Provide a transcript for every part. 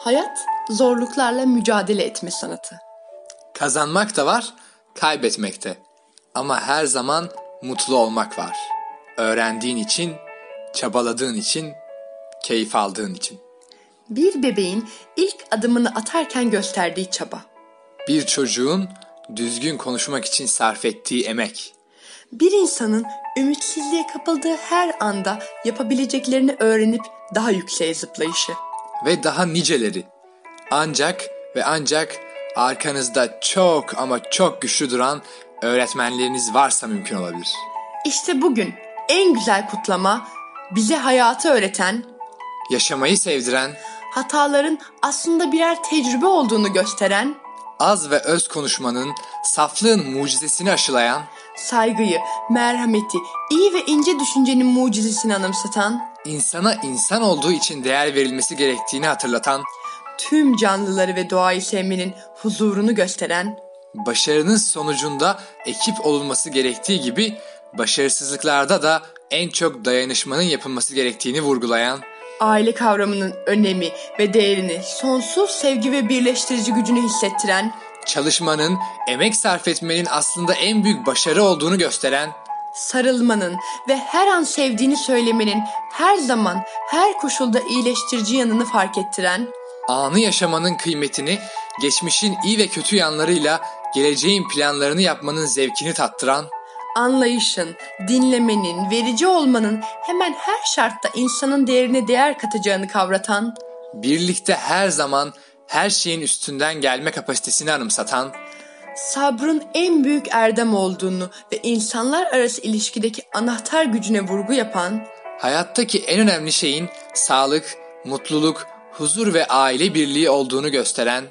Hayat zorluklarla mücadele etme sanatı. Kazanmak da var, kaybetmek de. Ama her zaman mutlu olmak var. Öğrendiğin için, çabaladığın için, keyif aldığın için. Bir bebeğin ilk adımını atarken gösterdiği çaba. Bir çocuğun düzgün konuşmak için sarf ettiği emek. Bir insanın ümitsizliğe kapıldığı her anda yapabileceklerini öğrenip daha yükseğe zıplayışı. ve daha niceleri. Ancak ve ancak arkanızda çok ama çok güçlü duran öğretmenleriniz varsa mümkün olabilir. İşte bugün en güzel kutlama bize hayatı öğreten, Yaşamayı sevdiren, hataların aslında birer tecrübe olduğunu gösteren, az ve öz konuşmanın, saflığın mucizesini aşılayan, saygıyı, merhameti, iyi ve ince düşüncenin mucizesini anımsatan, insana insan olduğu için değer verilmesi gerektiğini hatırlatan, tüm canlıları ve doğayı sevmenin huzurunu gösteren, başarının sonucunda ekip olunması gerektiği gibi başarısızlıklarda da en çok dayanışmanın yapılması gerektiğini vurgulayan, aile kavramının önemi ve değerini sonsuz sevgi ve birleştirici gücünü hissettiren, çalışmanın, emek sarf etmenin aslında en büyük başarı olduğunu gösteren, sarılmanın ve her an sevdiğini söylemenin her zaman her koşulda iyileştirici yanını fark ettiren, anı yaşamanın kıymetini, geçmişin iyi ve kötü yanlarıyla geleceğin planlarını yapmanın zevkini tattıran, anlayışın, dinlemenin, verici olmanın hemen her şartta insanın değerine değer katacağını kavratan, birlikte her zaman her şeyin üstünden gelme kapasitesini anımsatan, sabrın en büyük erdem olduğunu ve insanlar arası ilişkideki anahtar gücüne vurgu yapan, hayattaki en önemli şeyin sağlık, mutluluk, huzur ve aile birliği olduğunu gösteren,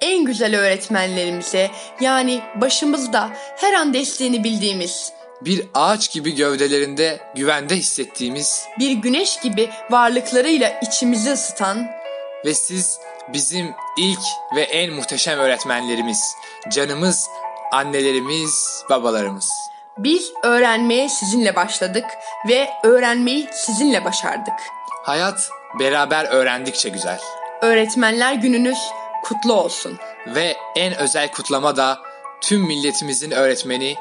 en güzel öğretmenlerimize yani başımızda her an desteğini bildiğimiz, bir ağaç gibi gövdelerinde güvende hissettiğimiz bir güneş gibi varlıklarıyla içimizi ısıtan, ve siz bizim ilk ve en muhteşem öğretmenlerimiz, canımız, annelerimiz, babalarımız. Biz öğrenmeye sizinle başladık ve öğrenmeyi sizinle başardık. Hayat beraber öğrendikçe güzel Öğretmenler gününüz kutlu olsun. ve en özel kutlama da tüm milletimizin öğretmeni,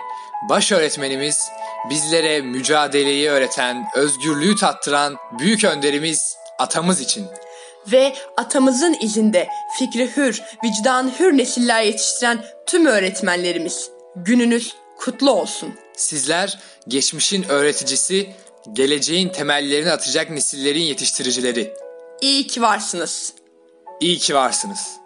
baş öğretmenimiz, bizlere mücadeleyi öğreten, özgürlüğü tattıran büyük önderimiz atamız için. Ve atamızın izinde fikri hür, vicdan hür nesiller yetiştiren tüm öğretmenlerimiz gününüz kutlu olsun. Sizler geçmişin öğreticisi, geleceğin temellerini atacak nesillerin yetiştiricileri. İyi ki varsınız. İyi ki varsınız.